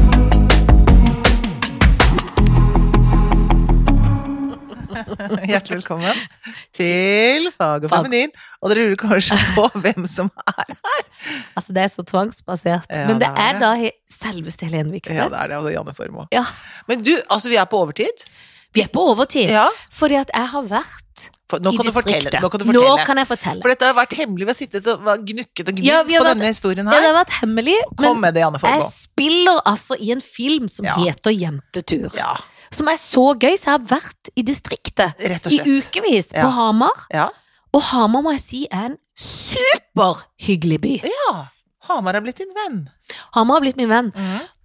Hjertelig velkommen til Fag og Fag. feminin. Og dere lurer kanskje på hvem som er Altså, det er så tvangsbasert. Ja, Men det det er er det. da he- selveste Helene Vikstvedt. Ja, det er det. Og Janne Formoe. Ja. Men du, altså, vi er på overtid. Vi er på overtid, Ja. fordi at jeg har vært For, nå, i kan du fortelle, distriktet. nå kan du fortelle. Nå kan jeg fortelle. For dette har vært hemmelig. Vi har sittet og var- gnukket og gnudd Ja, vi har på vært- denne historien Ja, det her. har vært hemmelig, Kom men med det, Janne jeg Formoe. spiller altså i en film som Ja. heter Jentetur. Ja, Som er så gøy, så jeg har vært i distriktet rett og i slett. ukevis på Ja. Hamar. Ja. Og Hamar må jeg si er en superhyggelig by. ja. Hamar er blitt din venn. Hamar har blitt min venn.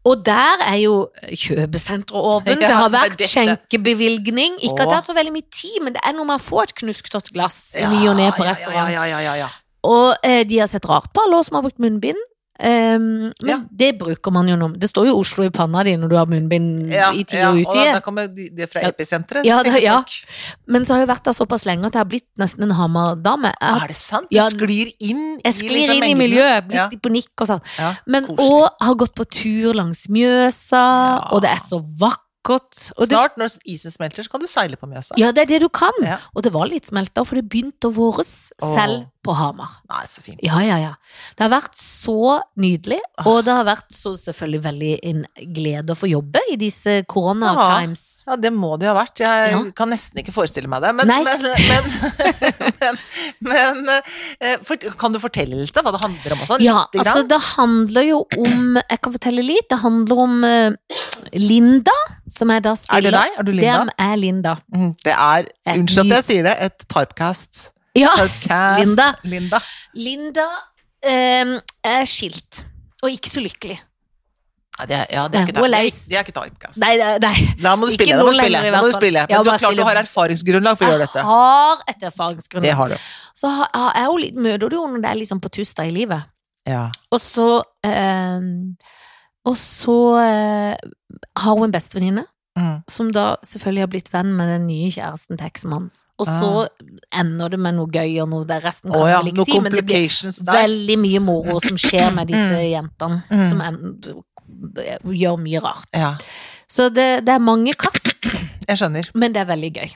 Og der er jo kjøpesenteret åpent. Ja, det har det er vært dette. skjenkebevilgning. Ikke Åh. at det har tatt så veldig mye tid, men det er noe med å få et knusktørt glass i ny og ne på restaurant. Ja, ja, ja, ja, ja. Og eh, de har sett rart på alle oss som har brukt munnbind. Ehm, Ja. men det bruker man jo nå. Det står jo Oslo i panna di når du har munnbind ja, Mm, i tide ja. og Og da, da utide. kommer de, de fra Ja. episenteret. Ja, tenker det- ja. folk. Men så har jeg vært der såpass lenge at jeg har blitt nesten en Hamar-dame. Jeg, har- Er det sant? Ja. du sklir inn jeg sklir liksom inn i mengden. miljøet, blitt Ja. i panikk og sånn. Ja, Men koselig. og har gått på tur langs Mjøsa, Ja. og det er så vakkert. Og det, Snart, når isen smelter, så kan du seile på Mjøsa. ja, det er det du kan. Ja. Og det var litt smelta, for det begynte å våres Åh. selv på Hamar. Nei, så fint. Ja, ja, ja. Det har vært så nydelig, Ah. og det har vært så selvfølgelig veldig en glede å få jobbe i disse corona Ja. times. Ja, det må det jo ha vært. Jeg Ja. kan nesten ikke forestille meg det. Men, Nei. men, men, men, men eh, fort- Kan du fortelle litt, da? Hva det handler om og sånn? Ja, Lite altså grann? det handler jo om, jeg kan fortelle litt, det handler om eh, Linda, som jeg er det da spiller. deg? Er du Linda? Det er Linda. Mm, Det er, Et unnskyld ny- at jeg sier det, et typecast. Ja, typecast. Linda. Linda. Linda eh, er skilt, og ikke så lykkelig. Ja, det er, ja, det er ikke Hun er det. lei. Det er- Det er ikke typecast. Nei, nei, nei. Da må du Ikke spille. Da må nå du spille. lenger i Da må hvert du fall. spille. Ja, Men du bare har klart du spille. har erfaringsgrunnlag for å gjøre Jeg dette. har et Det erfaringsgrunnlag. har du. Så har, er jo litt, møter du jo når det er liksom på tusta i livet. Ja. Og så eh, Og så eh, har hun en bestevenninne, Mm. som da selvfølgelig har blitt venn med den nye kjæresten til eksmannen. Og så ender det med noe gøy og noe der resten kan Ah. Å ja, jeg vel noen ikke si, men det blir complications der. veldig mye moro som skjer med disse jentene, Mm. som en- gjør mye rart. Ja, Så det, det er mange kast, jeg skjønner. men det er veldig gøy.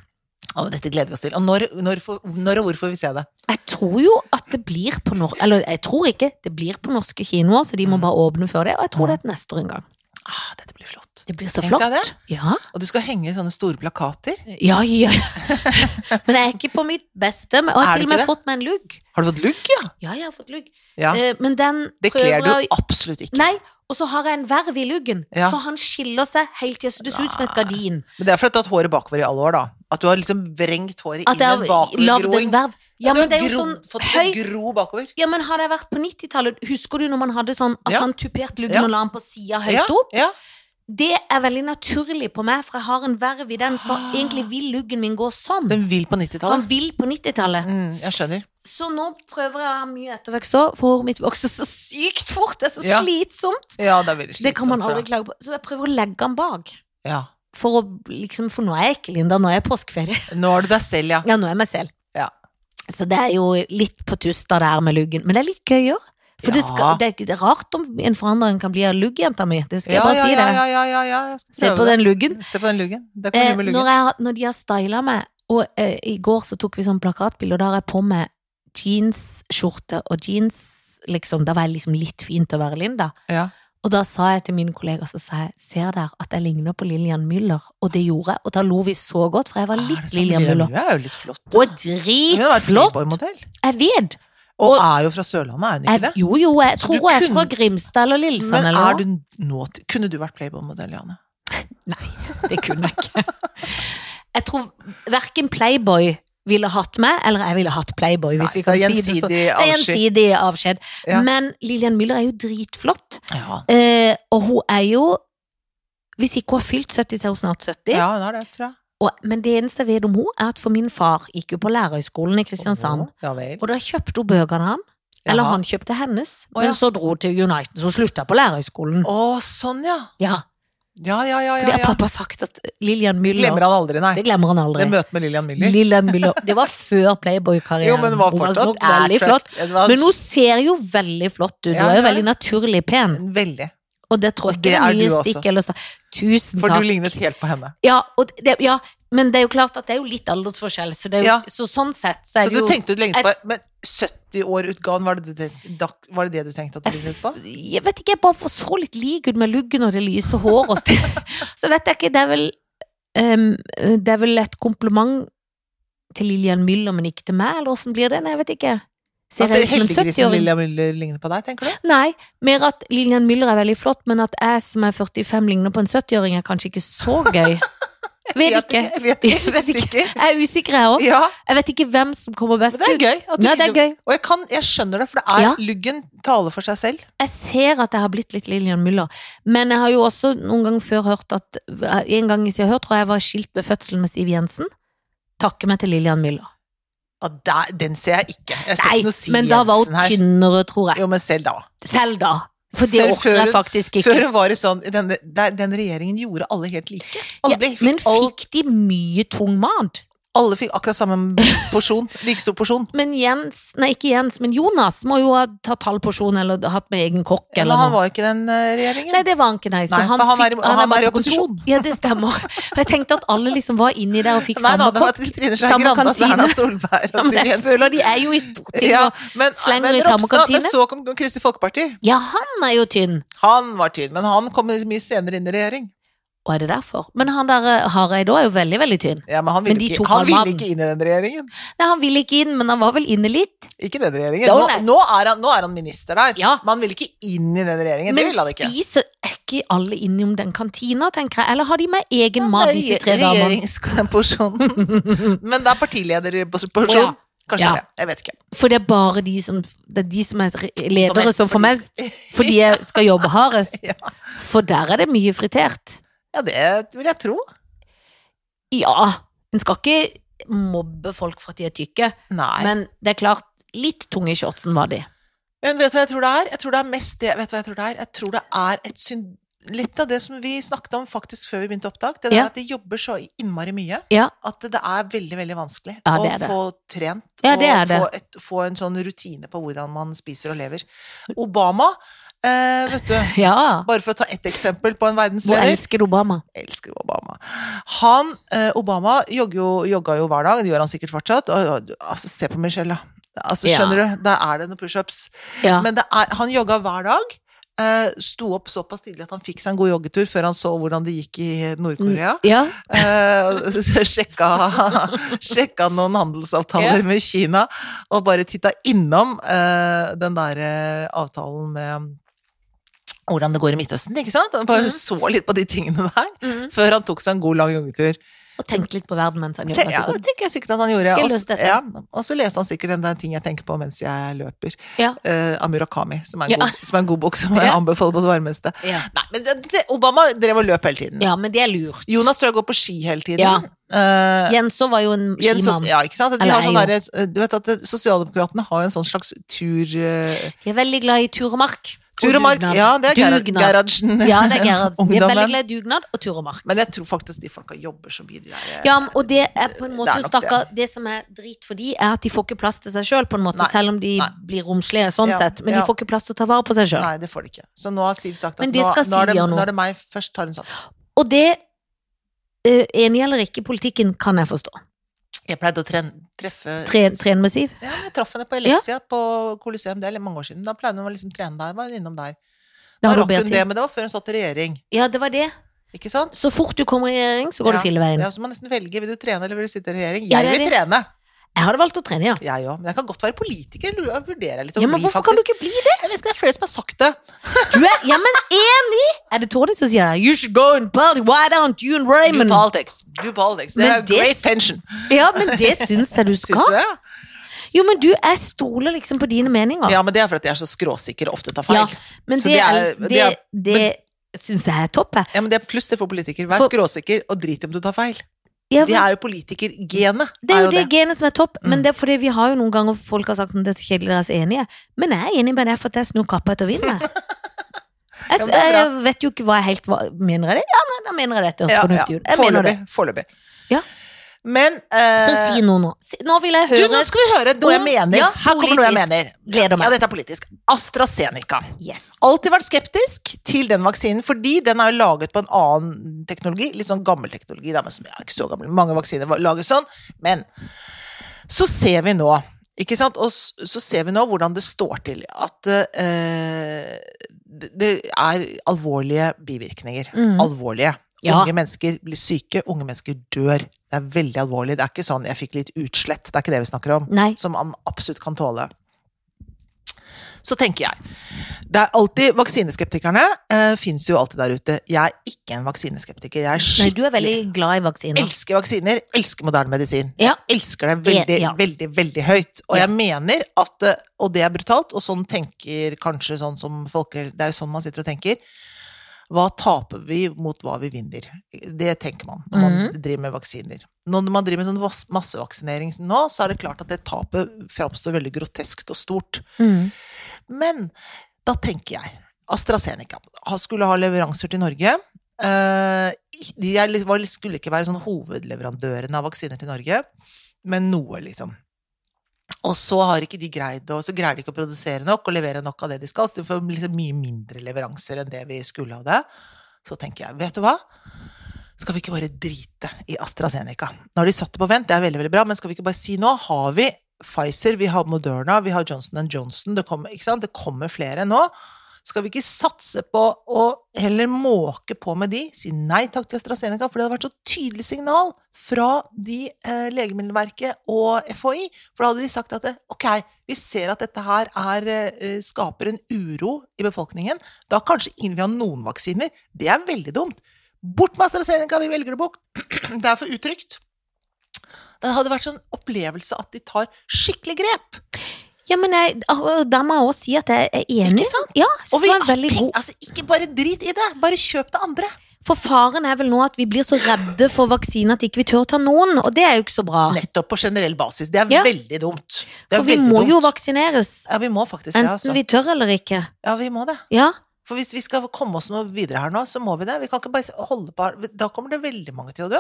Å, dette gleder vi oss til. Og når, når, får- når og hvor får vi se det? Jeg tror jo at det blir på nor Eller jeg tror ikke, det blir på norske kinoer, så de må Mm. bare åpne før det. Og jeg tror det er til neste år en gang. Ah, dette blir flott. Det blir så Tenk deg flott. det. Ja. Og du skal henge i sånne store plakater. Ja, ja. Men jeg er ikke på mitt beste. men- Og jeg Er har du til og med ikke det? fått meg en lugg. Har du fått lugg, ja? Ja, jeg har fått lugg. Ja. Eh, Men den Det prøver kler du jeg å- absolutt ikke. Nei, og så har jeg en verv i luggen, Ja. Ah, så han skiller seg helt til så det ser ut som et Nei. gardin. Men det er fordi du har hatt håret bakover i alle år, da. At du har liksom vrengt håret At inn i jeg har en lagd en bakovergroing. verv. Ja, du men har det er jo grodd- sånn fått det høy til å gro bakover. ja, men Hadde jeg vært på 90-tallet, husker du når man hadde sånn at Ja. man tuperte luggen Ja. og la den på sida høyt ja, opp? Ja. Det er veldig naturlig på meg, for jeg har en verv i den, så egentlig vil luggen min gå sånn. Den vil på Han 90-tallet. vil på 90-tallet. Mm, jeg skjønner. Så nå prøver jeg å ha mye ettervekst òg, for håret mitt vokser så sykt fort. Det er så Ja. slitsomt. Ja, det er veldig slitsomt. Det kan man for aldri deg. klage på. Så jeg prøver å legge den bak. Ja. For, å, liksom, for nå er jeg ikke Linda, nå er jeg påskeferie. Nå er du deg selv, ja. Ja, nå er jeg meg selv. Ja. Så det er jo litt på tusta der med luggen. Men det er litt gøyere. For det, skal, Ja. det, er, det er rart om en forandring kan bli av luggjenta mi. Det skal ja, jeg bare ja, si ja, det. ja, ja, ja, ja. Jeg skal Se prøve det. på den luggen. Se på den luggen. Det kan du Eh, gjøre med når, luggen. jeg, har- når de har styla meg, og eh, i går så tok vi sånn plakatbilde, og da har jeg på meg jeansskjorte og jeans, liksom, da var jeg liksom litt fin til å være Linda. Ja. Og da sa jeg til mine kolleger, så sa jeg, ser dere at jeg ligner på Lillian Müller? Og det gjorde jeg, og da lo vi så godt, for jeg var Er Ah, det litt sant? Lillian Müller. Hun er jo litt flott. da. Og Hun har vært dritflott! Playboy-modell. Jeg vet! Og Og- er jo fra Sørlandet, er hun ikke det? Jeg, jo, jo, jeg Så tror du jeg er fra kunne- Grimstad eller Lillesand Men eller noe. er du nå til- Kunne du vært Playboy-modell, Jane? Det kunne jeg ikke. Jeg tror hverken Playboy ville hatt meg, eller jeg ville hatt Playboy, hvis vi så kan si det gjensidig sånn. Det er avskjed. gjensidig avskjed. Ja. Men Lillian Müller er jo dritflott. Ja. Eh, og hun er jo Hvis ikke hun har fylt 70, så er hun snart 70. ja, hun er det, tror jeg. Og, men det eneste jeg vet om henne, er at for min far gikk jo på Lærerhøgskolen i Kristiansand. Åh, Ja vel. Og da kjøpte hun bøkene han, eller han kjøpte hennes. Å, ja. Men så dro hun til United, så hun slutta på Lærerhøgskolen. Å, sånn, ja. Ja, Ja, ja, ja. for det ja, har ja. pappa sagt at Lillian Müller Glemmer han aldri, nei. Det glemmer han aldri. Det møtet med Lillian Müller. Lillian Müller. Det var før Playboy-karrieren. Jo, men hun var fortsatt nok veldig attract- flott. det var Men hun ser jo veldig flott ut. Hun Ja, er jo ja. veldig naturlig pen. sånn. Veldig. Og det tror Og jeg det ikke det er er mye du også. stikk eller sta- Tusen For du Mm, takk. lignet helt på henne. Ja, og det, ja, Men det er jo klart at det er jo litt aldersforskjell, så, det er jo, Ja. så sånn sett Så så er det du jo tenkte du lengte på Men 70-år-utgaven, var, det du tenkte- dak- var det det du tenkte at du lignet på? jeg, jeg vet ikke, jeg bare får så litt lik ut med luggen og det lyse håret. og stil. Så vet jeg ikke, det er vel ehm, Det er vel et kompliment til Lillian Müller, men ikke til meg, eller åssen blir det? Nei, jeg vet ikke. Ser At jeg ut som en heldiggrisen 70-åring? Lilla Müller ligner på deg, tenker du? Nei, mer at Lillian Müller er veldig flott, men at jeg som er 45 ligner på en 70-åring, er kanskje ikke så gøy. Vet ikke. Jeg vet ikke. Jeg Jeg vet vet ikke. Jeg er usikker, jeg òg. Ja, Jeg vet ikke hvem som kommer best men det er ut. gøy. At du Nei, ikke- det er gøy. Og jeg, kan, jeg skjønner det, for det er Ja. luggen taler for seg selv. jeg ser at jeg har blitt litt Lillian Müller, men jeg har jo også noen gang før hørt at En gang i Se og Hør tror jeg jeg var skilt ved fødselen med Siv Jensen. Takke meg til Lillian Müller. Og der, den ser jeg ikke. Jeg ser Nei, ikke noe Siv men da var Jensen hun her. tynnere, tror jeg. Jo, men selv da. Selv da. For det Selv før orker jeg hun- faktisk ikke. Før hun var det sånn den, der, den regjeringen gjorde alle helt like. Alle, Ja, ble, fikk, men all, fikk de mye tung mat? alle fikk akkurat samme porsjon. Like stor porsjon. Men Jens, nei ikke Jens, men Jonas må jo ha tatt halv porsjon eller hatt med egen kokk Men eller han noe. var jo ikke den eh, regjeringen. Nei, det var han ikke, nei. Så Nei, han, for han fikk, er i- han bare er i på posisjon. opposisjon. Ja, det stemmer. Og jeg tenkte at alle liksom var inni der og fikk Nei, samme da, det var kokk. Trine Skei samme Grande, altså Erna kantine. Solberg Ja, og men Siv jeg Jensen. føler de er jo i Stortinget. Ja, og- men, slenger men i samme Ropstad, men kantine. så kom Kristelig Folkeparti. Ja, han er jo tynn. Han var tynn, men han kom mye senere inn i regjering. Og er det derfor? Men han der eh, Hareide òg er jo veldig, veldig tynn. Ja, men han Men ville, de ikke, tok han ville halvannen. ikke inn i den regjeringen. Nei, han ville ikke inn, men han var vel inne litt. Ikke den regjeringen. Da, Nå, nei. nå, er, han, nå er han minister der. Ja. Men han ville ikke inn i den regjeringen. Men det ville han ikke. spiser er ikke alle innom den kantina, tenker jeg? Eller har de med egen mat, Det er disse re- tre damene? Regjeringsporsjonen. Men det er partilederporsjon. Å, ja. Kanskje Ja. det. Jeg vet ikke. For det er bare de som, det er de som er re- For ledere mest, som får mest, faktisk. fordi jeg skal jobbe hardest. Ja. For der er det mye fritert. Ja, det vil jeg tro. Ja, en skal ikke mobbe folk for at de er tykke, Nei. Men, men det er klart, litt tunge i shortsen var de. vet du hva jeg tror det er? Jeg tror det er mest det Vet du hva jeg tror det er? Jeg tror det er et syn... Litt av det som vi snakket om faktisk før vi begynte opptak, det der Ja. at de jobber så innmari mye Ja. at det er veldig, veldig vanskelig Ja, å det er det. få trent Ja, og det er det. få, et, få en sånn rutine på hvordan man spiser og lever. Obama, eh, vet du Ja, Bare for å ta ett eksempel på en hvor verdensleder. elsker du Obama? Jeg elsker Obama. Han, eh, Obama jogger jo, jogga jo hver dag, det gjør han sikkert fortsatt. Og, og, altså, se på Michelle, da. Altså, Ja. skjønner du? Der er det noen pushups. Ja. Men det er, han jogga hver dag. eh, Sto opp såpass tidlig at han fikk seg en god joggetur før han så hvordan det gikk i Nord-Korea. Ja, Eh, og så sjekka, sjekka noen handelsavtaler med Kina, og bare titta innom eh, den der eh, avtalen med hvordan det går i Midtøsten, ikke sant? Og bare Mhm. så litt på de tingene der, Mhm. før han tok seg en god, lang joggetur. Og tenk litt på verden mens han Tenk- gjør det. Ja, sikkert. det tenker jeg sikkert at han gjorde. Skal jeg Og, løse dette? ja, og så leste han sikkert en del ting jeg tenker på mens jeg løper. Ja. Eh, av Murakami, som er, en Ja. god, som er en god bok som jeg Ja. anbefaler på det varmeste. Ja. Nei, men det, det, Obama drev og løp hele tiden. ja, men det er lurt. Jonas tror jeg går på ski hele tiden. Ja. Eh, Jenso var jo en Jens Sos- skimann. ja, ikke sant? De Eller har er sånn jo. derre- du vet at det- Sosialdemokratene har jo en sånn slags tur... eh, De er veldig glad i tur og mark. tur og mark. dugnad. Ja, det er Gerhard- Dugnad. Gerhardsen. Ja, det er Gerhardsen. De er Ungdommen. veldig glad i dugnad og tur og mark. Men jeg tror faktisk de folka jobber så mye, de der eh, Ja, og det er på en måte, Det er nok stakkar, det som er drit for de, er at de får ikke plass til seg sjøl, på en måte, Nei. selv om de Nei. blir romslige sånn Ja. sett, men Ja. de får ikke plass til å ta vare på seg sjøl. Nei, det får de ikke. Så nå har Siv sagt at Men nå, det skal nå, er Siv det, gjøre nå. nå er det meg først, har hun sagt. Og det, eh, enig eller ikke, politikken kan jeg forstå. Jeg pleide å tren, treffe Tren, tren med Siv. Ja, men jeg traff henne på Elixia på Colosseum, det er mange år siden. Da pleide hun å liksom trene der, var innom der. Da Da har du rakk bedre hun det, tid. men det var før hun satt i regjering. Ja, det var det. Ikke sant? Så fort du kommer i regjering, så går Ja. du filleveien. Ja, så må man nesten velge. Vil du trene, eller vil du sitte i regjering? Ja, Jeg det er vil trene. Jeg hadde valgt å trene, ja. Jeg òg. Men jeg kan godt være politiker. lurer- Jeg vurderer litt å Ja, men bli, hvorfor kan du faktisk. ikke bli Jeg vet ikke, det er flere som har sagt det. Du er, ja, men enig! Er det Tony som sier det? You should go and party, why don't you and Do Raymond? politics. Do politics. Det Men er det great s- pension. Ja, men det syns jeg du Syns skal. du det? Jo, men du, jeg stoler liksom på dine meninger. Ja, men det er fordi jeg er så skråsikker og ofte tar feil. Ja, Ja. men Så det, det er- er- det er- det, det syns jeg er topp, jeg. men det er pluss det for politikere. Vær For- skråsikker og drit i om du tar feil. Ja, Det men er jo politikergenet. det er jo det det. genet som er topp, men Mm. det er fordi vi har jo noen ganger folk har sagt sånn, det er så kjedelig dere er så enige, men jeg er enig med deg for at jeg snur kappa etter vinden. jeg. Jeg, Ja, men s- det er bra. jeg vet jo ikke hva jeg helt hva, Mener jeg det? Ja, nei, da mener jeg dette. høres Ja, fornuftig ja. ut. Jeg mener det. Foreløpig. Foreløpig. Ja. Men eh, Så si noe nå. Si- Nå vil jeg du, høre nå skal vi høre noe jeg om- mener. ja, Her kommer noe jeg politisk. mener. Gleder meg. Ja, dette er politisk. AstraZeneca. Yes. Alltid vært skeptisk til den vaksinen, fordi den er jo laget på en annen teknologi. Litt sånn gammel teknologi, da, men som er ikke så gammel. Mange vaksiner var- lages sånn. Men så ser vi nå, ikke sant, og s- så ser vi nå hvordan det står til. At eh, det det er alvorlige bivirkninger. Mm. Alvorlige. Ja. Unge mennesker blir syke, unge mennesker dør. Det er veldig alvorlig. Det er ikke sånn 'jeg fikk litt utslett', det er ikke det vi snakker om Nei. som man absolutt kan tåle. Så tenker jeg. Det er alltid Vaksineskeptikerne eh, fins jo alltid der ute. Jeg er ikke en vaksineskeptiker. Jeg er Nei, du skikkelig er veldig glad i vaksiner. Elsker vaksiner, elsker moderne medisin. Ja. Jeg elsker det veldig, Ja. veldig, veldig høyt. Og Ja. jeg mener at eh, Og det er brutalt, og sånn tenker kanskje sånn som folk Det er jo sånn man sitter og tenker. Hva taper vi mot hva vi vinner? Det tenker man når man Mhm. driver med vaksiner. Når man driver med sånn vas- massevaksinering nå, så er det klart at det tapet framstår veldig groteskt og stort. Mm. Men da tenker jeg AstraZeneca ha- skulle ha leveranser til Norge. Eh, De er litt- var- skulle ikke være sånn hovedleverandørene av vaksiner til Norge, men noe, liksom. Og så har ikke de greid å, så greier de ikke å produsere nok og levere nok av det de skal, så de får liksom mye mindre leveranser enn det vi skulle ha det. Så tenker jeg, vet du hva? Skal vi ikke bare drite i AstraZeneca? Nå har de satt det på vent, det er veldig, veldig bra, men skal vi ikke bare si nå? Har vi Pfizer, vi har Moderna, vi har Johnson Johnson. Det kommer, ikke sant? Det kommer flere nå. Skal vi ikke satse på å heller måke på med de? Si nei takk til AstraZeneca, for det hadde vært så tydelig signal fra de eh, Legemiddelverket og FHI. For da hadde de sagt at det, ok, vi ser at dette her er, eh, skaper en uro i befolkningen. Da kanskje ingen vil ha noen vaksiner. Det er veldig dumt. Bort med AstraZeneca, vi velger det bort. Det er for utrygt. Det hadde vært sånn opplevelse at de tar skikkelig grep. Ja, men jeg, ah, da må jeg også si at jeg er enig. Ikke sant? Ja, jeg synes Og vi, det var en veldig god altså, ikke bare drit i det, bare kjøp det andre. For faren er vel nå at vi blir så redde for vaksine at ikke vi tør ta noen, og det er jo ikke så bra. Nettopp på generell basis. Det er Ja. veldig dumt. Det er For vi veldig må dumt. jo vaksineres, Ja, vi må faktisk det, altså. enten vi tør eller ikke. Ja, vi må det. Ja, For hvis vi skal komme oss noe videre her nå, så må vi det. Vi kan ikke bare holde på Da kommer det veldig mange til å dø.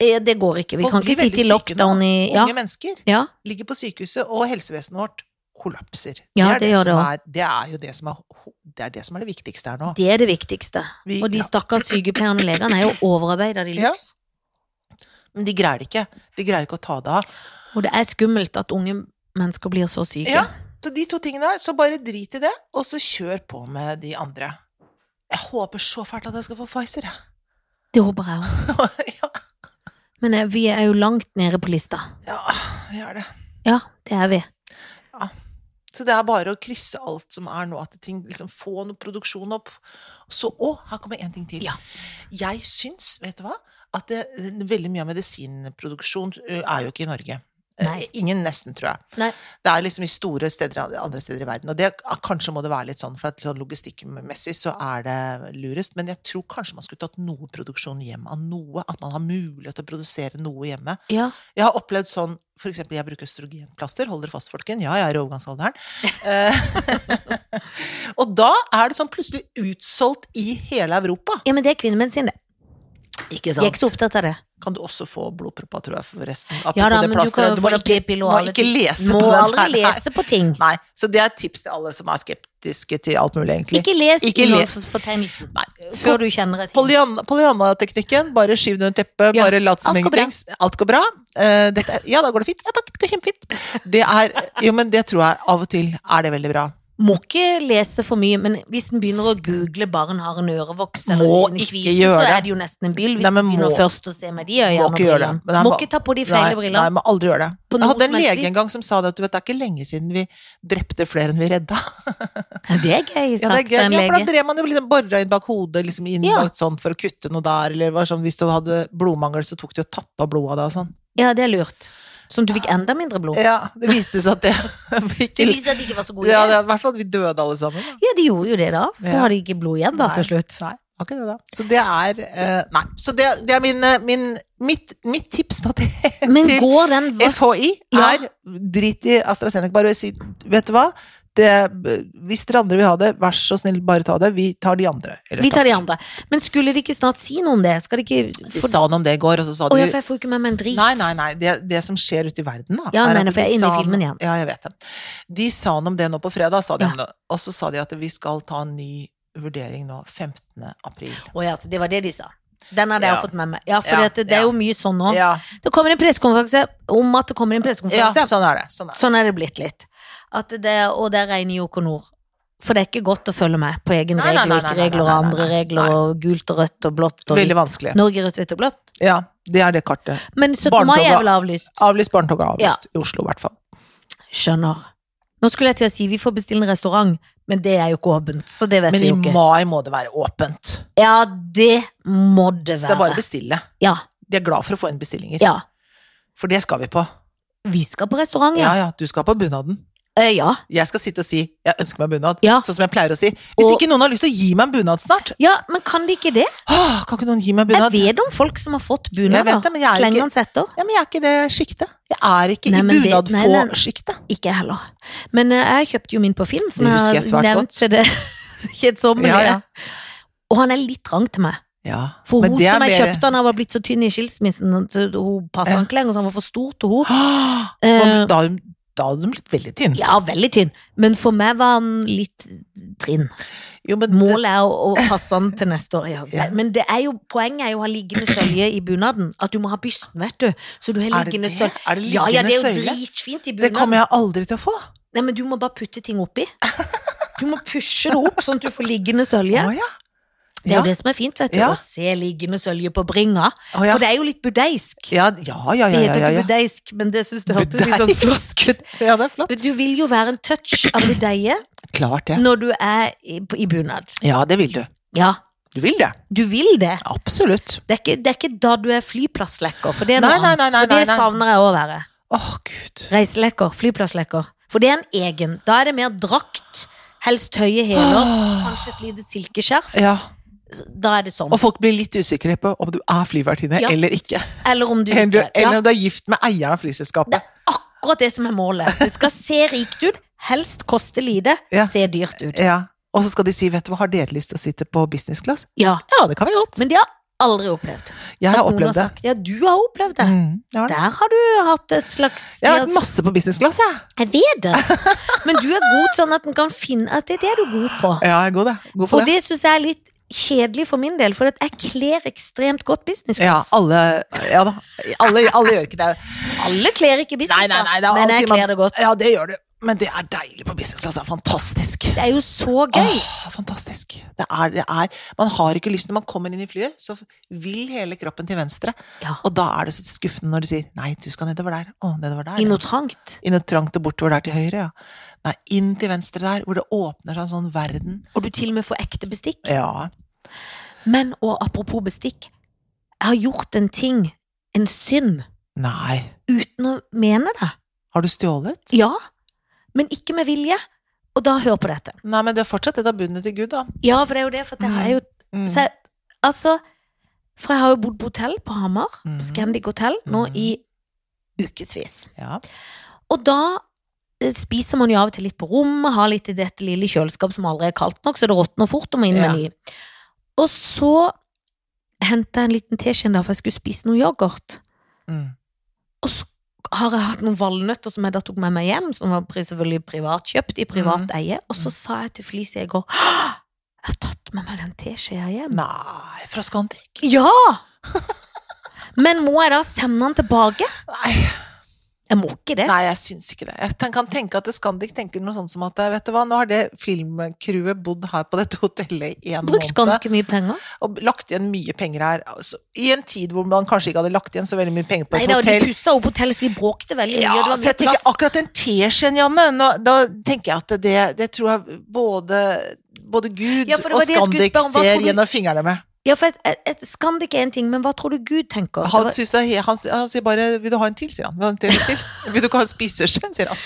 eh, det går ikke. Vi Folk kan blir ikke sitte veldig i syke nå. lockdown i Ja, Unge mennesker ja. ligger på sykehuset, og helsevesenet vårt kollapser. Ja, er det gjør det som også. er, det er jo det som er, ho- det er det som er det viktigste her nå. Det er det viktigste. Vi, Og de stakkars sykepleierne og legene er jo overarbeida de Ja. luxe. ja, men de greier det ikke. De greier ikke å ta det av. Og det er skummelt at unge mennesker blir så syke. Ja. Så de to tingene der, så bare drit i det, og så kjør på med de andre. Jeg håper så fælt at jeg skal få Pfizer, jeg. Det håper jeg òg. ja, Men eh, vi er jo langt nede på lista. ja, vi er det. Ja, det er vi. Så det er bare å krysse alt som er nå, at ting liksom få noe produksjon opp. Så, å, her kommer en ting til. Ja. Jeg syns, vet du hva, at det, veldig mye av medisinproduksjon ø, er jo ikke i Norge. Eh, Nei. Ingen, nesten, tror jeg. Nei. Det er liksom i store steder andre steder i verden. Og det, er- kanskje må det være litt sånn, for at sånn logistikkmessig så er det lurest. Men jeg tror kanskje man skulle tatt noe produksjon hjem av noe. At man har mulighet til å produsere noe hjemme. Ja. Jeg har opplevd sånn For eksempel, jeg bruker østrogenplaster. Hold dere fast, folken. Ja, jeg er i overgangsalderen. Eh, og da er det sånn plutselig utsolgt i hele Europa. ja, men det er kvinnemedisin, det. Ikke De er ikke så opptatt av det. Kan du også få blodpropper, tror jeg, forresten. Ja da, Apropos det men du kan plasteret. jo få må det ikke, p-piller må og alle ikke ting. lese Må på den aldri her. lese på ting. Nei, så det er et tips til alle som er skeptiske til alt mulig, egentlig. Ikke les Ikke les. innholdsfortegnelsen Nei, før du kjenner et hint. Pollyanna- Pollyanna-teknikken. Bare skyv det under teppet. Ja, Bare lat som alt går bra. ingenting. Alt går bra. Eh, dette, er- ja, da går det fint. Ja, takk, det går kjempefint. Det er Jo, men det tror jeg av og til er det veldig bra. Må ikke lese for mye, men hvis en begynner å google 'barn har en ørevoks' Må eller en ikke kvise, gjøre så det. er det jo nesten en byll. Hvis Nei, men en begynner må- først å se med de Må øynene og ikke gjøre det. brillene. Men det er Må bare- ikke ta på de Nei, nei, feile brillene. må aldri gjøre det. På Jeg noe hadde en som helst lege vis. en gang som sa det at du vet, det er ikke lenge siden vi drepte flere enn vi redda. Det er gøy, Ja, det sagt er gøy. en Ja, for da lege. drev man jo liksom bora inn bak hodet liksom inn Ja. bak sånn for å kutte noe der, eller var sånn, hvis du hadde blodmangel, så tok de og tappa blodet av deg og sånn. Ja, det er lurt. Sånn at du fikk enda mindre blod. Ja, det viste seg at det Det ikke viser at de ikke var så gode. ja, Ja, det, I hvert fall vi døde alle sammen. da. ja, de gjorde jo det, da. Da Ja. hadde de ikke blod igjen, da, Nei. til slutt. Nei, var ikke det da. Så det er eh, Nei. Så det, det er min, eh, min mitt, mitt tips nå til, Men til går den FHI Ja. er drit i AstraZeneca. Bare si Vet du hva? det, hvis dere andre vil ha det, vær så snill, bare ta det. Vi tar de andre. Eller Vi tar de takk. andre. Men skulle de ikke snart si noe om det? Skal de ikke De sa noe om det i går, og så sa Å de ja, for jeg får ikke med meg en drit. Nei, nei, nei. Det, det som skjer ute i verden, da. Ja, er nei, at nei, for jeg er de inne i sa- filmen igjen. Ja, jeg vet det. De sa noe om det nå på fredag, sa de. Ja. om det. Og så sa de at vi skal ta en ny vurdering nå 15. april. Å ja, så det var det de sa. Den hadde Ja. jeg fått med meg. Ja, for Ja, det, det ja. er jo mye sånn nå. Ja, Det kommer en pressekonferanse om at det kommer en ja, pressekonferanse. sånn er det. Sånn er det. Sånn er det blitt litt. At det, og der regner Joko Nord. For det er ikke godt å følge med på egen Nei, nei, regel nei, og nei, ikke nei, regler og nei, nei, andre nei. regler og gult og rødt og blått og Veldig hvitt. vanskelig. Norge rødt, hvitt og blått. Ja, det er det kartet. Men 17. Barnetoga. mai er vel avlyst? Avlyst barnetoget er avlyst. I Oslo, i hvert fall. Skjønner. Nå skulle jeg til å si vi får bestille en restaurant, men det er jo ikke åpent, så det vet Men vi i jo ikke. mai må det være åpent. Ja, det må det Så det er bare å være. bestille. Ja, De er glad for å få inn bestillinger. ja. For det skal vi på. Vi skal på restaurant, Ja, ja. ja, du skal på bunaden. Eh, ja. Jeg skal sitte og si 'jeg ønsker meg bunad', Ja. sånn som jeg pleier å si. Hvis Og- ikke noen har lyst til å gi meg en bunad snart, ja, men kan de ikke det? åh, kan ikke noen gi meg Jeg bunad? vet om folk som har fått Jeg vet bunader. det, men jeg er ikke- Slenger hans etter. Ja, men jeg er ikke i det sjiktet. Jeg er ikke Nei, i men det- nei, nei. bunad-få-sjiktet. Ikke jeg heller. Men eh, jeg kjøpte jo min på Finn, som Det jeg husker har jeg svært nevnt godt. til det kjedsommelige. Ja, ja. Og han er litt trang til meg. Ja. For men hun det er som jeg mer- kjøpte han av, var blitt så tynn i skilsmissen. at Hun passet Ja. han ikke lenger, så han var for stor til hun. Åh, Da, Eh. da hadde de blitt veldig tynn. Ja, veldig tynn. Men for meg var han litt trinn. Jo, men det- Målet er å, å passe han til neste år. Ja, Ja. Men det er jo, poenget er jo å ha liggende sølje i bunaden. At du må ha bysten, vet du. Så du har er det liggende det? sølje. Er det Ja, ja, det er jo søyle? dritfint i Det bunaden. kommer jeg aldri til å få. Nei, men du må bare putte ting oppi. Du må pushe det opp, sånn at du får liggende sølje. Å ja. Det er Ja. jo det som er fint, vet du. Ja. Å se liggende sølje på bringa. Å ja. For det er jo litt budeisk. Ja, ja, ja, Det ja, heter ja, ikke ja. budeisk, men det syns det hørtes litt sånn Budeisk? frosk ut. ja, det er flott. Men Du vil jo være en touch av budeie Klart det. når du er i, på- i bunad. Ja, det vil du. Ja, Du vil det. du vil det. Absolutt. Det er ikke, det er ikke da du er flyplasslekker, for det er noe Nei, nei, annet. nei, nei, for det nei, nei. savner jeg å være. Åh, gud. Reiselekker, flyplasslekker. For det er en egen. Da er det mer drakt, helst høye hæler, Åh. kanskje et lite silkeskjerf. Ja, Da er det sånn. og folk blir litt usikre på om du er flyvertinne Ja. eller ikke. Eller om du Eller, ikke eller ja, om du er gift med eieren av Det flyselskapet. er akkurat det som er målet. Det skal se rikt ut, helst koste lite, Ja. se dyrt ut. Ja. Og så skal de si 'vet du hva, har dere lyst til å sitte på business class'? Ja, Ja, det kan vi godt. Men det har jeg aldri opplevd. Jeg At har noen opplevd det. sagt, ja, du har opplevd det. Mm, jeg, har det. Der har du hatt et slags jeg har vært masse på business class, jeg. Jeg vet det. Men du er god sånn at en kan finne at det er det du er god på. Ja, jeg er god, det. God for Og det. det syns jeg er litt kjedelig for min del, for at jeg kler ekstremt godt business Ja, class. alle, ja da. Alle, alle gjør ikke det. Alle kler ikke business Nei, nei, class, nei, det er men jeg alltid man- kler det godt. Ja, det gjør du. Men det er deilig på business class. Det er fantastisk. Det er jo så gøy. Åh, fantastisk. Det er, det er Man har ikke lyst Når man kommer inn i flyet, så vil hele kroppen til venstre. Ja. Og da er det så skuffende når de sier 'nei, du skal nedover der'. Å, nedover der. I ja. noe trangt. Inn og trangt og bortover der til høyre, ja. Nei, inn til venstre der, hvor det åpner seg en sånn verden. Og du til og med får ekte bestikk. Ja. Men, og apropos bestikk, jeg har gjort en ting, en synd, Nei. uten å mene det. Har du stjålet? Ja, men ikke med vilje. Og da hør på dette. Nei, men det er fortsatt et av budene til Gud, da. Ja, for det er jo det, for det har jeg jo Mm. så jeg, Altså, for jeg har jo bodd på hotell på Hamar, Mhm. på Scandic hotell, nå Mhm. i ukevis. Ja. Og da eh, spiser man jo av og til litt på rommet, har litt i dette lille kjøleskapet som aldri er kaldt nok, så det råtner fort og må inn Ja. med ny. Og så hentet jeg en liten teskje en dag, for jeg skulle spise noe yoghurt. Mm. Og så har jeg hatt noen valnøtter som jeg da tok med meg hjem, som var pri- selvfølgelig privatkjøpt i privat Mhm. eie. Og så sa jeg til Felicia i går «Hå! Jeg har tatt med meg den teskjea hjem. Nei, fra Scandic? Ja! Men må jeg da sende den tilbake? Nei. Jeg må ikke det. Nei, jeg syns ikke det. Jeg ten- kan tenke at Scandic tenker noe sånt som at eh, vet du hva, nå har det filmcrewet bodd her på dette hotellet i en måned Brukt ganske mye penger. og lagt igjen mye penger her. Altså, I en tid hvor man kanskje ikke hadde lagt igjen så veldig mye penger på Nei, et da, de hotell. pussa opp hotellet, så de bråkte veldig mye. Ja, og det var så jeg mye tenker plass. akkurat den teskjeen, Janne, nå, da tenker jeg at det, det tror jeg både, både Gud Ja, for det var og det jeg skulle Scandic spørre om. Hva tror ser du- gjennom fingrene med. Ja, for et, et, et Scandic er en ting, men hva tror du Gud tenker? Det Han, var, synes det er, he- han, s- han sier bare 'vil du ha en til', sier han. Vil, du ha en til, til? vil du ikke ha en spiseskje, sier han.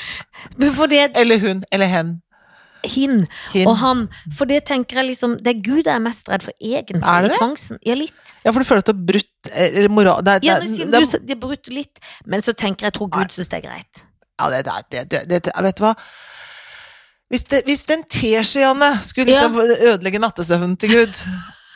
Men for det Eller hun, eller hen. hin Hin. og han, for det tenker jeg liksom Det er Gud jeg er mest redd for, egentlig. Er det I det? tvangsen. Ja, litt. Ja, for du føler at du har brutt eh, Eller moral det, er- Ja, men det, siden er- du sa- det er brutt litt, men så tenker jeg tror Gud syns det er greit. Ja, det, det, det, det, det Vet du hva? Hvis, det, hvis den teskeene skulle Ja. liksom ødelegge nattesøvnen til Gud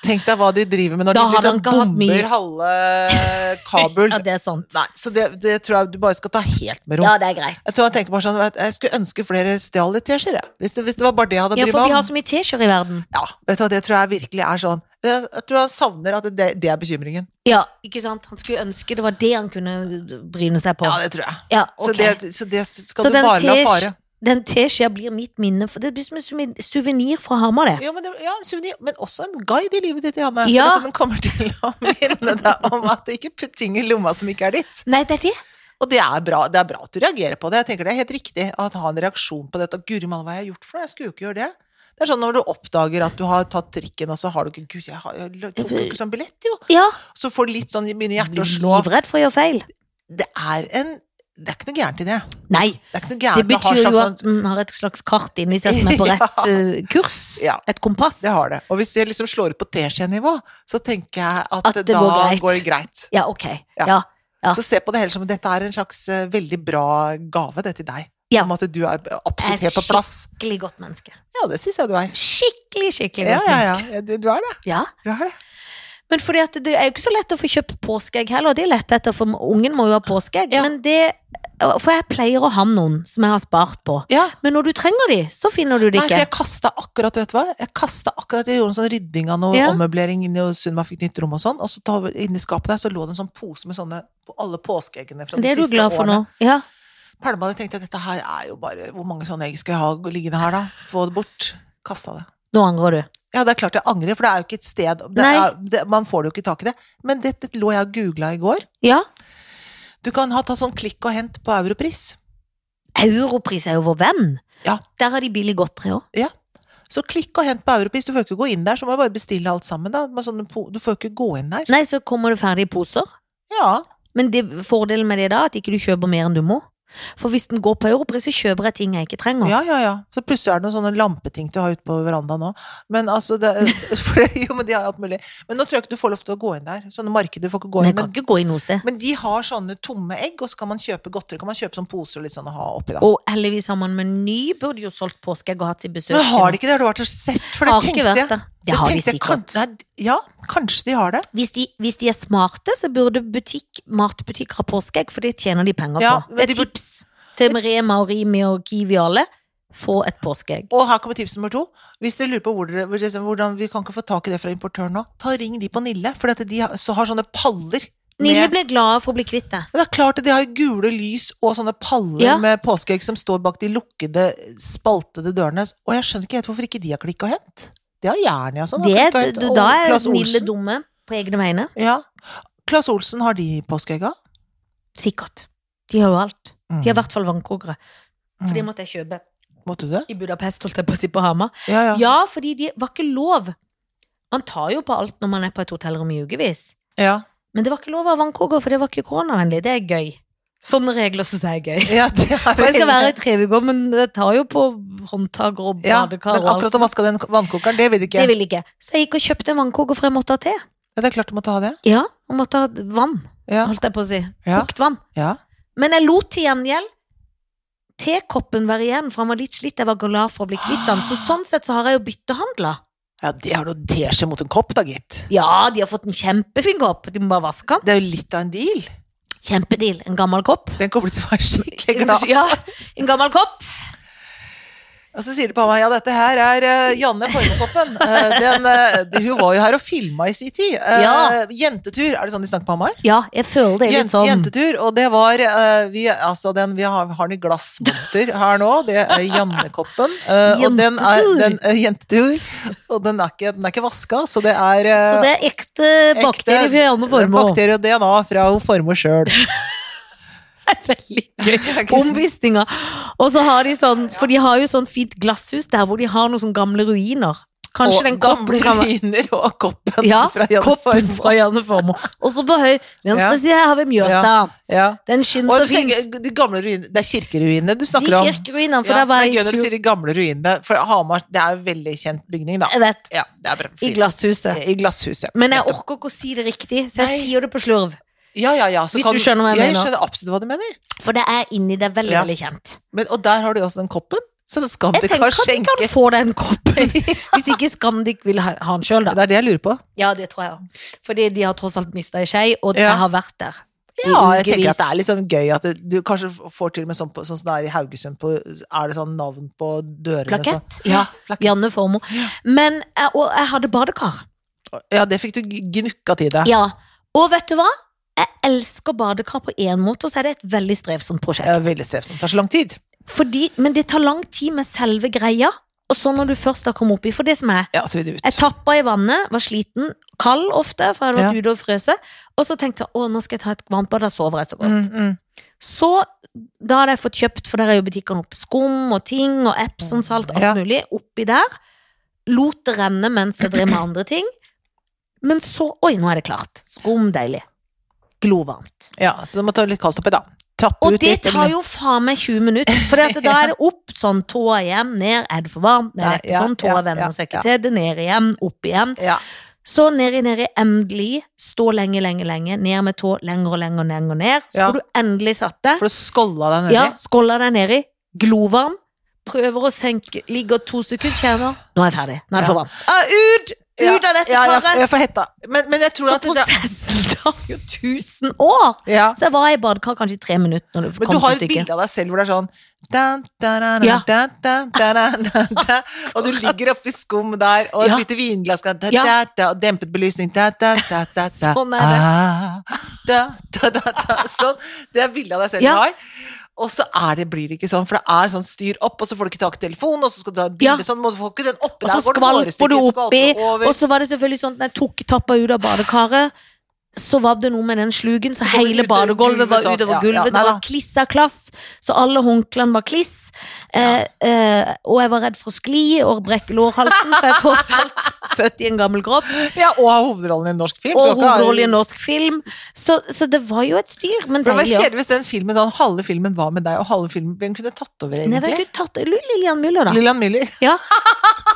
Tenk deg hva de driver med når Da de hadde liksom han ikke hatt mye. bomber halve Kabul. Ja, det er sant. Nei, så det, det tror jeg du bare skal ta helt med ro. Ja, det er greit. Jeg tror jeg tenker bare sånn at jeg skulle ønske flere stjal litt teskjeer, jeg. Hvis, det- hvis det var bare det jeg hadde Ja, drevet for vi har med. så mye T-skjorter i verden. Ja, vet du hva, det tror jeg virkelig er sånn. Jeg, jeg tror han savner at det, det er bekymringen. Ja, ikke sant? Han skulle ønske det var det han kunne bryne seg på. Ja, det tror jeg. Ja, Så, ok. det, så det skal Så du den bare la tesj- fare. Den teskjea blir mitt minne. For det blir som en suvenir fra Hamar, det. Ja, men, det, ja, en souvenir, men også en guide i livet ditt, Janne. Ja. For dette, den kommer til å minne deg om at du ikke putt ting i lomma som ikke er ditt. Nei, det er det. Og det er bra, det er bra at du reagerer på det. Jeg tenker det er helt riktig at ha en reaksjon på dette. Guri malla, hva har jeg gjort for noe? Jeg skulle jo ikke gjøre det. Det er sånn når du oppdager at du har tatt trikken, og så har du ikke Gud, jeg, har, jeg tok jo ikke sånn billett, jo. Ja. Så får du litt sånn begynner Jeg hjertet å blir slå. livredd for å gjøre feil. Det er en Det er ikke noe gærent i det. Nei. Det er ikke noe Det gærent å ha betyr slags jo sånn at en har et slags kart inni seg som er på rett Ja. eh, kurs. Ja. Et kompass. Det har det. Og hvis det liksom slår ut på teskjenivå, så tenker jeg at, At det da går greit. går det greit. Ja, ok. Ja. Ja. Ja. Så se på det heller som dette er en slags eh, veldig bra gave, det til deg. Ja. Om at du er Jeg er absolutt helt på plass. Skikkelig godt menneske. Ja, det syns jeg du er. Skikkelig, skikkelig Ja, godt ja, menneske. ja. Du du er det. Ja. Du er det. Men fordi at det er jo ikke så lett å få kjøpt påskeegg heller. Det er lett etter, for ungen må jo ha påskeegg. Ja. Men det For jeg pleier å ha noen som jeg har spart på. Ja. Men når du trenger de, så finner du det Nei, for ikke. jeg kasta akkurat, vet du hva? Jeg kastet akkurat, jeg gjorde en sånn rydding av noe Ja. ommøblering inni hos Sunniva fikk nytt rom og sånn, og så ta- inni skapet der så lå det en sånn pose med sånne på alle påskeeggene fra de Det er du siste glad for nå. årene. Ja. Pælma det, tenkte jeg, dette her er jo bare Hvor mange sånne egg skal jeg ha liggende her, da? Få det bort. Kasta det. Nå angrer du. Ja, det er klart jeg angrer, for det er jo ikke et sted det Nei. er, det, Man får det jo ikke tak i det. Men dette lå jeg og googla i går. Ja. Du kan ha ta sånn klikk og hent på Europris. Europris er jo vår venn. Ja. Der har de billig godteri òg. Så klikk og hent på Europris. Du får ikke gå inn der, så må jeg bare bestille alt sammen, da. Med sånne po du får ikke gå inn der. Nei, så kommer det ferdig i poser. Ja. Men det, fordelen med det da, at ikke du kjøper mer enn du må. For hvis den går på Europris, så kjøper jeg ting jeg ikke trenger. ja, ja, ja. Så plutselig er det noen sånne lampeting du har ute på verandaen nå. Men altså det, for, det- Jo, men de har alt mulig. Men nå tror jeg ikke du får lov til å gå inn der. Sånne markeder får ikke gå Men inn. jeg kan Men, ikke gå inn noe sted. men de har sånne tomme egg, og så kan man kjøpe godteri. Kan man kjøpe sånne poser og litt sånn å ha oppi, da. Og heldigvis har man meny. Burde jo solgt påskeegg og hatt sitt besøk. Men har de ikke det? Har du vært og sett? For det Har ikke tenkte vært jeg. der. Det har de tenkte jeg kan- sikkert. nei, ja, kanskje de har det. Hvis de, hvis de er smarte, så burde butikk, matbutikker ha påskeegg, for det tjener de penger Ja, på. men Det er de burde- tips til Rema og Rimi og Kiwi og alle. Få et påskeegg. Og her kommer tips nummer to. Hvis dere lurer på hvor dere, hvor- liksom, hvordan vi kan ikke få tak i det fra importøren nå, ta og ring de på Nille, for at de har, så har sånne paller. Nille med- ble glad for å bli kvitt det. Ja, det er klart at de har gule lys og sånne paller Ja. med påskeegg som står bak de lukkede, spaltede dørene. Og jeg skjønner ikke helt hvorfor ikke de har klikk og hent. Det har Jernia sånn. har klikk det og hent. du, Og da er Claes Nille Olsen. dumme på egne vegne. Ja. Claes Olsen, har de påskeegga? Sikkert. De har jo alt. De har i Mm. hvert fall vannkokere. For det Mm. måtte jeg kjøpe Måtte du det? i Budapest, holdt jeg på å si, på Hamar. Ja, ja. Ja, fordi det var ikke lov. Man tar jo på alt når man er på et hotellrom i ukevis. ja. Men det var ikke lov å ha vannkokere, for det var ikke koronavennlig. Det er gøy. Sånne regler syns jeg er gøy. ja det er For jeg veldig- skal være i tre uker, men det tar jo på håndtaker og Ja, badekar men og alt. akkurat å vaske den vannkokeren, det vil du ikke. Det vil jeg ikke. Så jeg gikk og kjøpte en vannkoker, for jeg måtte ha te. Ja, det er klart du måtte ha det. Ja, og måtte ha vann, Ja. holdt jeg på å si. Ja. Kokt vann. ja. Men jeg lot til gjengjeld tekoppen være igjen, for han var litt slitt. Jeg var glad for å bli kvitt han. Så sånn sett så har jeg jo byttehandla. ja det har du en teskje mot en kopp, da, gitt. Ja, de har fått en kjempefin kopp. De må bare vaske den. Det er jo litt av en deal. Kjempedeal. En gammel kopp. Den kommer du til å være skikkelig glad for. Ja, en gammel kopp. Og så sier de på meg ja, dette her er eh, Janne Formokoppen. Eh, den, eh, det- hun var jo her og filma i sin tid. Eh, Ja. Jentetur, er det sånn de snakker på meg? Ja, jeg føler det Jen- litt sånn. Jentetur, og det var eh, vi, altså den, vi har, har den i glassmonter her nå, det er Jannekoppen. eh, og den er, Jentetur. den, eh, jentetur. Og den er ikke, den er ikke vaska, så det er eh, Så det er ekte ekte bakterier fra Janne Formoe. Bakterier og DNA fra hun Formoe sjøl. Det er veldig gøy. Omvisninga. Og så har de sånn, for de har jo sånn fint glasshus der hvor de har noen sånne gamle ruiner. Og Kanskje den gamle koppen kan være ruiner og koppen Ja, fra Janne koppen Formoe. fra Janne Formoe. Og så på høy venstre Ja. side her har vi Mjøsa. Ja. Den skinner Og så du fint. tenker, de gamle ruinene, det er kirkeruinene du De snakker om? kirkeruinene, for ja, der var det er jeg gøy når du i tur. sier de gamle ruinene, for Hamar det er jo en veldig kjent bygning, da. Jeg vet. Ja, det er bra, I fint. glasshuset. I glasshuset. Men jeg Nettopp. orker ikke å si det riktig, så jeg Nei. sier det på slurv. Ja, ja, ja. så Hvis du skjønner hva Ja, jeg mener. Jeg skjønner absolutt hva du mener. For det er inni det veldig, Ja. veldig kjent. Men, og der har du også den koppen. Som Jeg Scandic tenker har at de kan skjenket. få den koppen, hvis ikke Scandic vil ha, ha den sjøl, da. Det er det jeg lurer på. Ja, det tror jeg òg. Fordi de har tross alt mista ei skei, og Ja. jeg har vært der. i Ja, jeg tenker ukevis. at det er litt sånn gøy at du, du kanskje får til og med sånn, på, sånn som det er i Haugesund, på, er det sånn navn på dørene? sånn? Plakett. Ja. Plakett. Janne Formoe. Men jeg, og jeg hadde badekar. Ja, det fikk du g- gnukka til deg. Ja. Og vet du hva? Jeg elsker badekar på én måte, og så er det et veldig strevsomt prosjekt. Ja, veldig strevsomt. Tar så lang tid. Fordi, men det tar lang tid med selve greia, og så når du først har kommet oppi. For det som er, Ja, så vil det ut. jeg tappa i vannet, var sliten, kald ofte, for jeg hadde vært ute og frøse. Og så tenkte jeg å, nå skal jeg ta et varmtbad, da sover jeg så godt. Mm, mm. Så da hadde jeg fått kjøpt, for der er jo butikkene oppe, skum og ting og Epsom-salt, alt Ja. mulig, oppi der. Lot det renne mens jeg drev med andre ting. Men så Oi, nå er det klart. Skum, deilig. Glovarmt. Ja, så du må ta litt kaldt oppi, da. Tappe Og ut det litt. tar jo faen meg 20 minutter, for da er det opp sånn, tåa hjem, ned, er det for varmt, ned, Nei, er det ikke ja, sånn, tåa ja, ja, vender seg ja. ikke til det, ned igjen, opp igjen. Ja. Så ned i, ned i, endelig, stå lenge, lenge, lenge, ned med tå, lenger og lenger og lenger ned, så Ja. får du endelig satt deg, For du skålla deg nedi. ja, skålla deg nedi, glovarm, prøver å senke, ligger to sekunder, kjenner, nå er jeg ferdig, nå er det for varmt. Ah, ut! Ja, Ut av dette ja, jeg, karet! jeg får hetta. Men, men jeg tror Så at det, prosessen tar jo tusen år! ja. Så jeg var i badekar kanskje i tre minutter når det Men du kom har til et stykket. bilde av deg selv hvor det er sånn da, da, da, da, Ja. da, da, da, da, da, Og du ligger oppi skum der, og et Ja. lite vinglass da, da, Ja. da, da, og dempet belysning da, da, da, da, da, Sånn er det. Ah, da, da, da, da, Sånn. Det er bildet av deg selv Ja. du har. Og så er det, blir det ikke sånn, for det er sånn styr opp, og så får du ikke tak i telefonen, og så skal du ha Ja. bilde sånn, må du får ikke den oppi Og så der, går det skvalper du hårstykker, oppi, skvalper over. og så var det selvfølgelig sånn at når jeg tok tappa ut av badekaret, så var det noe med den slugen, Så så, går det hele utover badegulvet gulvet, var sånn. utover Ja, ja, nei gulvet. det da. var klissa klass, så alle håndklærne var kliss. Eh, eh, og jeg var redd for å skli og brekke lårhalsen, for jeg er tross alt født i en gammel kropp. Ja, og ha hovedrollen i en norsk film. Og så du kan ha- hovedrolle i en norsk film. Så, så det var jo et styr, men For Det var deilig. også. kjedelig hvis den filmen, sånn, halve filmen var med deg, og halve filmen hvem kunne tatt over, Nei, vel, egentlig. du tatt Lillian Müller, da. Lillian Müller. Ja.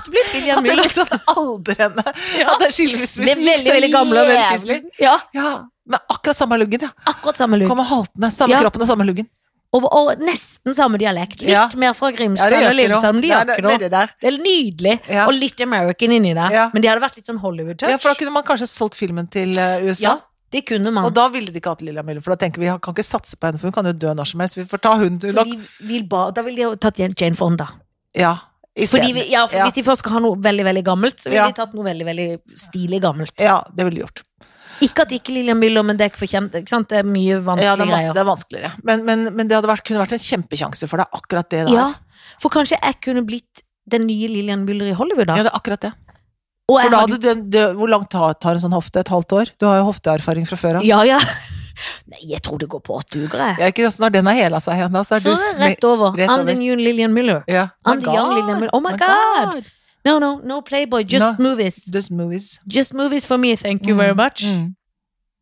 Du ble Lillian At det er Müller. liksom aldrende. Ja. At det er skilsmissen. Det er veldig, veldig gamle. og veldig skilsmissen. Ja, Ja, med akkurat samme luggen, ja. akkurat samme lugg. Kommer haltende. Samme Ja. kroppen og samme luggen. Og, og nesten samme dialekt. Litt Ja. mer fra Ja, Grimstad det gjør og ikke noe. Lillesand. De Nei, gjør det- ikke noe. nedi der. Det er nydelig. Ja. Og litt American inni der. Ja. Men de hadde vært litt sånn Ja, for da Hollywood-touch. kunne man kanskje solgt filmen til eh, USA. Ja, det kunne Og man. da ville de ikke hatt Lillian Müller, for da tenker vi vi kan ikke satse på henne, for hun kan jo dø når som helst. Vi får ta hun til For de vil ba, da ville de ha tatt Jane Fonda. Ja, i Fordi stedet. vi, ja, for Ja. Hvis de først skal ha noe veldig veldig gammelt, så ville Ja. de tatt noe veldig veldig stilig gammelt. Ja, det ville de gjort. Ikke at ikke Lillian Müller, men det er ikke for kjent, ikke sant? Det er mye vanskelige Ja, det er, masse, greier. det er vanskeligere. Men, men, men det hadde vært, kunne vært en kjempesjanse for det er akkurat det det er. Ja, For kanskje jeg kunne blitt den nye Lillian Müller i Hollywood, da. Ja, det er akkurat det. og For jeg da hadde hadde du, det, Hvor langt tar, tar en sånn hofte? Et halvt år? Du har jo hofteerfaring fra før av. Ja, ja. Nei, jeg tror det går på åtte uker, jeg. Ja, ikke sant? Når den har hela seg igjen, da, så er Så du er det smi- rett over. rett I'm over. the new Lillian Miller. Ja. I'm My the young God. Lillian Miller. Oh my god! No, no, no Playboy, just movies. Just movies. Just movies for me, thank you very much. Mm.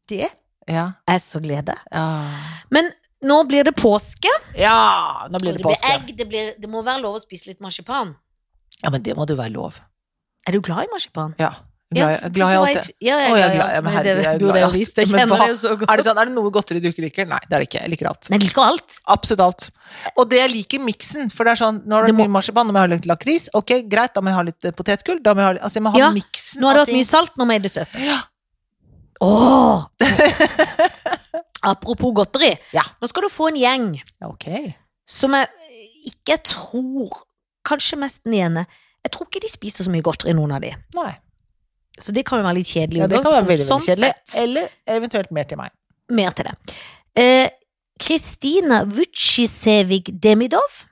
Det Ja. er så glede. Ja. Men nå blir det påske. ja! Nå blir Og det påske. egg, det, blir, det må være lov å spise litt marsipan. Ja, men det må du være lov. Er du glad i marsipan? Ja. Glad, for- glad i så var alt det. jeg- Ja, jeg Å, jeg er er glad- glad i ja, men alt, men det herregud, jeg er glad burde i jeg alt. visst. Jeg Men kjenner hva- det jo så Er det godt. sånn, er det noe godteri du ikke liker? Nei, det er det ikke. Jeg liker alt. Men jeg liker alt. Absolutt alt. Og det jeg liker miksen, for det er sånn Nå er det Det må- mye marsipan, nå må jeg ha litt lakris. Ok, greit, da må jeg ha litt eh, potetgull. Da må jeg ha, litt- altså, jeg må ha Ja, miksen. Nå har det av vært ting. mye salt, nå må jeg det søte. Ja. Åh! Apropos godteri. Ja. Nå skal du få en gjeng Ok. som jeg ikke tror Kanskje mest den ene. Jeg tror ikke de spiser så mye godteri, noen av de. Nei. Så det kan jo være litt kjedelig. Ja, det kan være utgangspunkt, veldig, veldig kjedelig. sett. Eller eventuelt mer til meg. Mer til det. Eh, Kristina Vucisevig Demidov.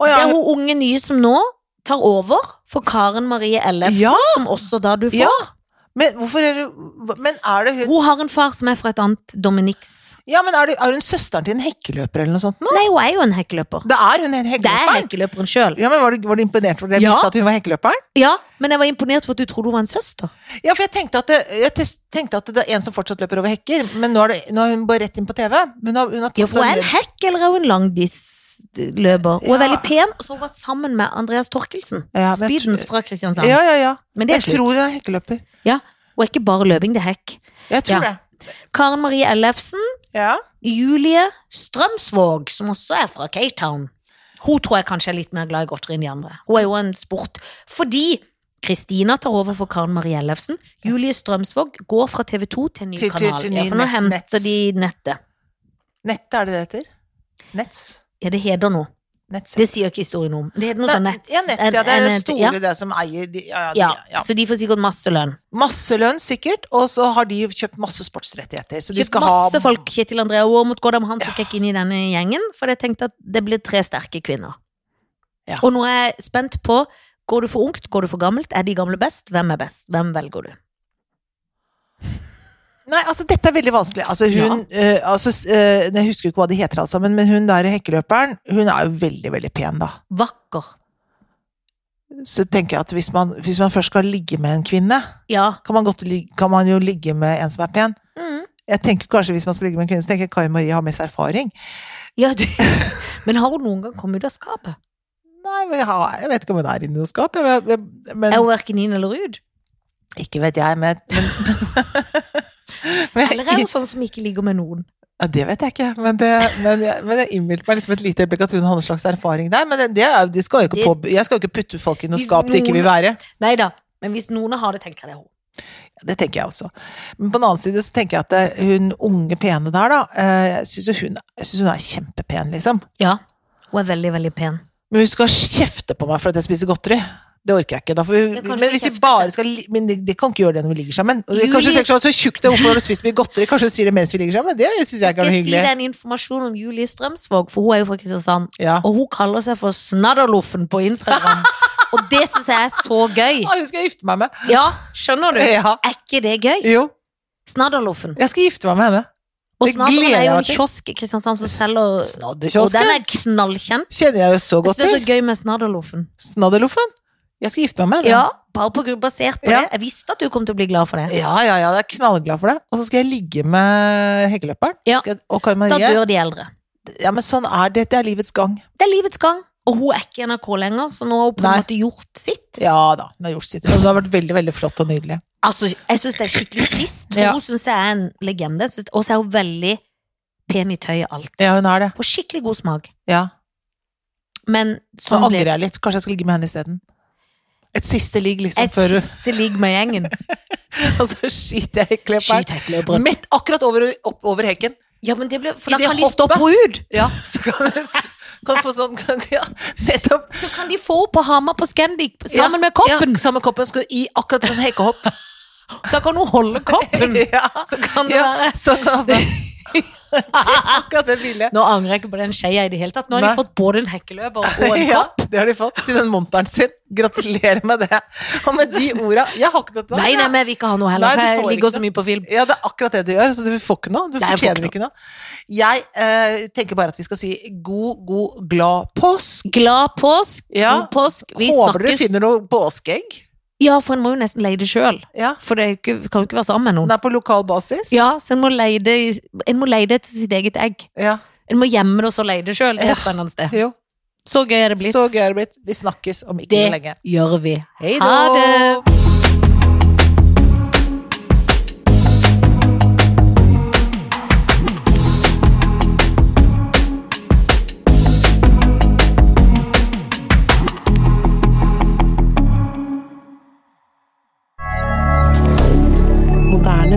Å, Det ja, er hun unge nye som nå tar over for Karen Marie Ellefsen, Ja! som også da du får. Ja. Men hvorfor er det Men er det hun Hun har en far som er fra et annet Dominics Ja, men er, det, er hun søsteren til en hekkeløper eller noe sånt nå? Nei, hun er jo en hekkeløper. Det er hun en Det er hekkeløperen. hekkeløperen sjøl. Ja, men var du, var du imponert over det? Jeg Ja. visste at hun var hekkeløperen. Ja, men jeg var imponert for at du trodde hun var en søster. Ja, for jeg tenkte at det, jeg test, tenkte at det er en som fortsatt løper over hekker, men nå er, det, nå er hun bare rett inn på TV. Men Hun har, hun har tatt Ja, for hun seg er en ned- hekk eller er hun en langdisløper. Hun er Ja. veldig pen, og så har hun vært sammen med Andreas Torkelsen. Ja, men jeg tr- Speedens fra Kristiansand. Ja, ja, ja. Men det Jeg er slutt. tror hun er hekkeløper. Hun er ikke bare løping, det er hekk. Jeg tror Ja. det. Karen Marie Ellefsen, Ja. Julie Strømsvåg, som også er fra Cape Town. Hun tror jeg kanskje er litt mer glad i godteri enn de andre. Hun er jo en sport. Fordi Kristina tar over for Karen Marie Ellefsen. Julie Strømsvåg går fra TV 2 til en ny Til- til- kanal. til Ja, ny for nå net- henter nets. de nettet. Nettet, er det det heter? Nets? Ja, det heter noe. Nets, Det sier ikke historien om. Det heter noe sånn nett. Ja, Nets, ja. En- Det er en- det en- store, ja. det som eier de, ja, ja, Ja, de, ja. så de får sikkert masse lønn. Masse lønn, sikkert, og så har de jo kjøpt masse sportsrettigheter. Så de Kjøpt skal ha masse folk. Kjetil André Aamodt Gårdam, han tok jeg ikke inn i denne gjengen, for jeg tenkte at det blir tre sterke kvinner. Ja. Og nå er jeg spent på Går du for ungt, går du for gammelt? Er de gamle best? Hvem er best? Hvem velger du? Nei, altså dette er veldig vanskelig. Altså hun eh, altså, eh, Jeg husker ikke hva de heter, altså, men, men hun der hekkeløperen, hun er jo veldig, veldig pen, da. Vakker. Så tenker jeg at hvis man, hvis man først skal ligge med en kvinne, Ja. kan man, godt, lig- kan man jo ligge med en som er pen. Jeg tenker kanskje Hvis man skal ligge med en kvinne, så tenker jeg Kari Marie har mest erfaring. ja du. Men har hun noen gang kommet ut av skapet? Nei, men jeg, har, jeg vet ikke om hun er inne i noe skap. Jeg, jeg, jeg, men, Er hun verken inn eller ut? Ikke vet jeg, men, men, men Eller er jeg, hun sånn som ikke ligger med noen? ja, Det vet jeg ikke, men, det, men, jeg, men jeg innbilte meg liksom et lite øyeblikk at hun har en slags erfaring der. Men det, det er, jo- de skal jo ikke Det- på, jeg skal jo ikke putte folk i noe Hvis skap de ikke vil være. Nei da. Men hvis noen har det, tenker jeg det er hun. Det tenker jeg også. Men på den annen side så tenker jeg at eh, hun unge pene der, da, eh, jeg syns jo hun, jeg synes hun er kjempepen, liksom. Ja. Hun er veldig, veldig pen. Men hun skal kjefte på meg for at jeg spiser godteri. Det orker jeg ikke. Da får vi, Ja, kanskje men vi hvis vi kjefter. bare skal li- Men det, det kan ikke gjøre det når vi ligger sammen. Og det- Kanskje hun Julie- sier sånn, så tjukk det, er, hvorfor har du spist mye godteri? Kanskje hun sier det mens vi ligger sammen? Det syns jeg ikke Skal er noe jeg si hyggelig. deg en informasjon om Julie Strømsvåg, for hun er jo fra Kristiansand. Ja. Og hun kaller seg for Snadderloffen på Instagram. Og det syns jeg er så gøy. Ah, hun skal jeg gifte meg med. Ja, skjønner du? Ja. Er ikke det gøy? Jo, Snadderloffen. jeg skal gifte meg med henne. Og det Snadderen gleder er jo jeg meg en til. kiosk i Kristiansand som selger Og den Snadderkiosken er knallkjent. kjenner jeg jo så Jeg synes godt det er til. så gøy med Snadderloffen. Snadderloffen. Jeg skal gifte meg med henne. Ja, bare på grunn basert på Ja. det. Jeg visste at du kom til å bli glad for det. Ja, ja, ja, jeg er knallglad for det. Og så skal jeg ligge med hekkeløperen. Ja. Skal jeg- Og Kari Da Marie. dør de eldre. Ja, men sånn er det. Det er livets gang. Det er livets gang. Og hun er ikke i NRK lenger, så nå har hun på en Nei. måte gjort sitt. Ja da, hun har gjort sitt. Og det har vært veldig, veldig flott og nydelig. Altså, jeg syns det er skikkelig trist, for Ja. hun syns jeg er en legende. Jeg synes- Og så er hun veldig pen i tøyet alltid. Ja, hun er det. På skikkelig god smak. Ja. Men Nå sånn angrer blir jeg litt. Kanskje jeg skal ligge med henne isteden. Et siste ligg, liksom, et før hun siste ligg med gjengen. Og så skyter jeg hekkeløperen. Skyt hekkeløperen. Midt akkurat over, opp, over hekken. Ja, men det ble, for I da det kan de hoppet. stoppe henne ut. Ja, så kan du s- kan du få sånn kan, Ja, nettopp. Så kan de få henne på Hamar på Scandic sammen Ja, med koppen. Ja, sammen med koppen skal du i akkurat sånn hekkehopp. Da kan hun holde koppen. ja, Så kan det ja, være sånn kan det være. Akkurat det bildet. Nå angrer jeg ikke på den skeia i det hele tatt. Nå har de Nei. fått både en hekkeløper og en Ja, kopp. det har de fått til den monteren sin. Gratulerer med det. Og med de orda Jeg har ikke dette. Nei, nei, men jeg vil ikke ha noe Nei, heller, for du jeg får ligger ikke så mye på film. Ja, det er akkurat det du gjør, så du får ikke noe. Du Nei, jeg får fortjener ikke ikke noe. Jeg eh, tenker bare at vi skal si god, god, glad påsk. Glad påsk, Ja. god påsk. Vi Håper dere snakkes. finner noe påskeegg. Ja, for en må jo nesten leie det sjøl. Ja. For det er jo ikke, vi kan jo ikke være sammen med Den noen. er på lokal basis. Ja, så en må leie det, i- en må leie det til sitt eget egg. Ja, En må gjemme det og så leie det sjøl. Det Ja. er spennende. sted. jo. Så gøy er det blitt. Så gøy er det blitt. Vi snakkes om ikke Det så lenge. gjør vi. Hei Ha det! Moderne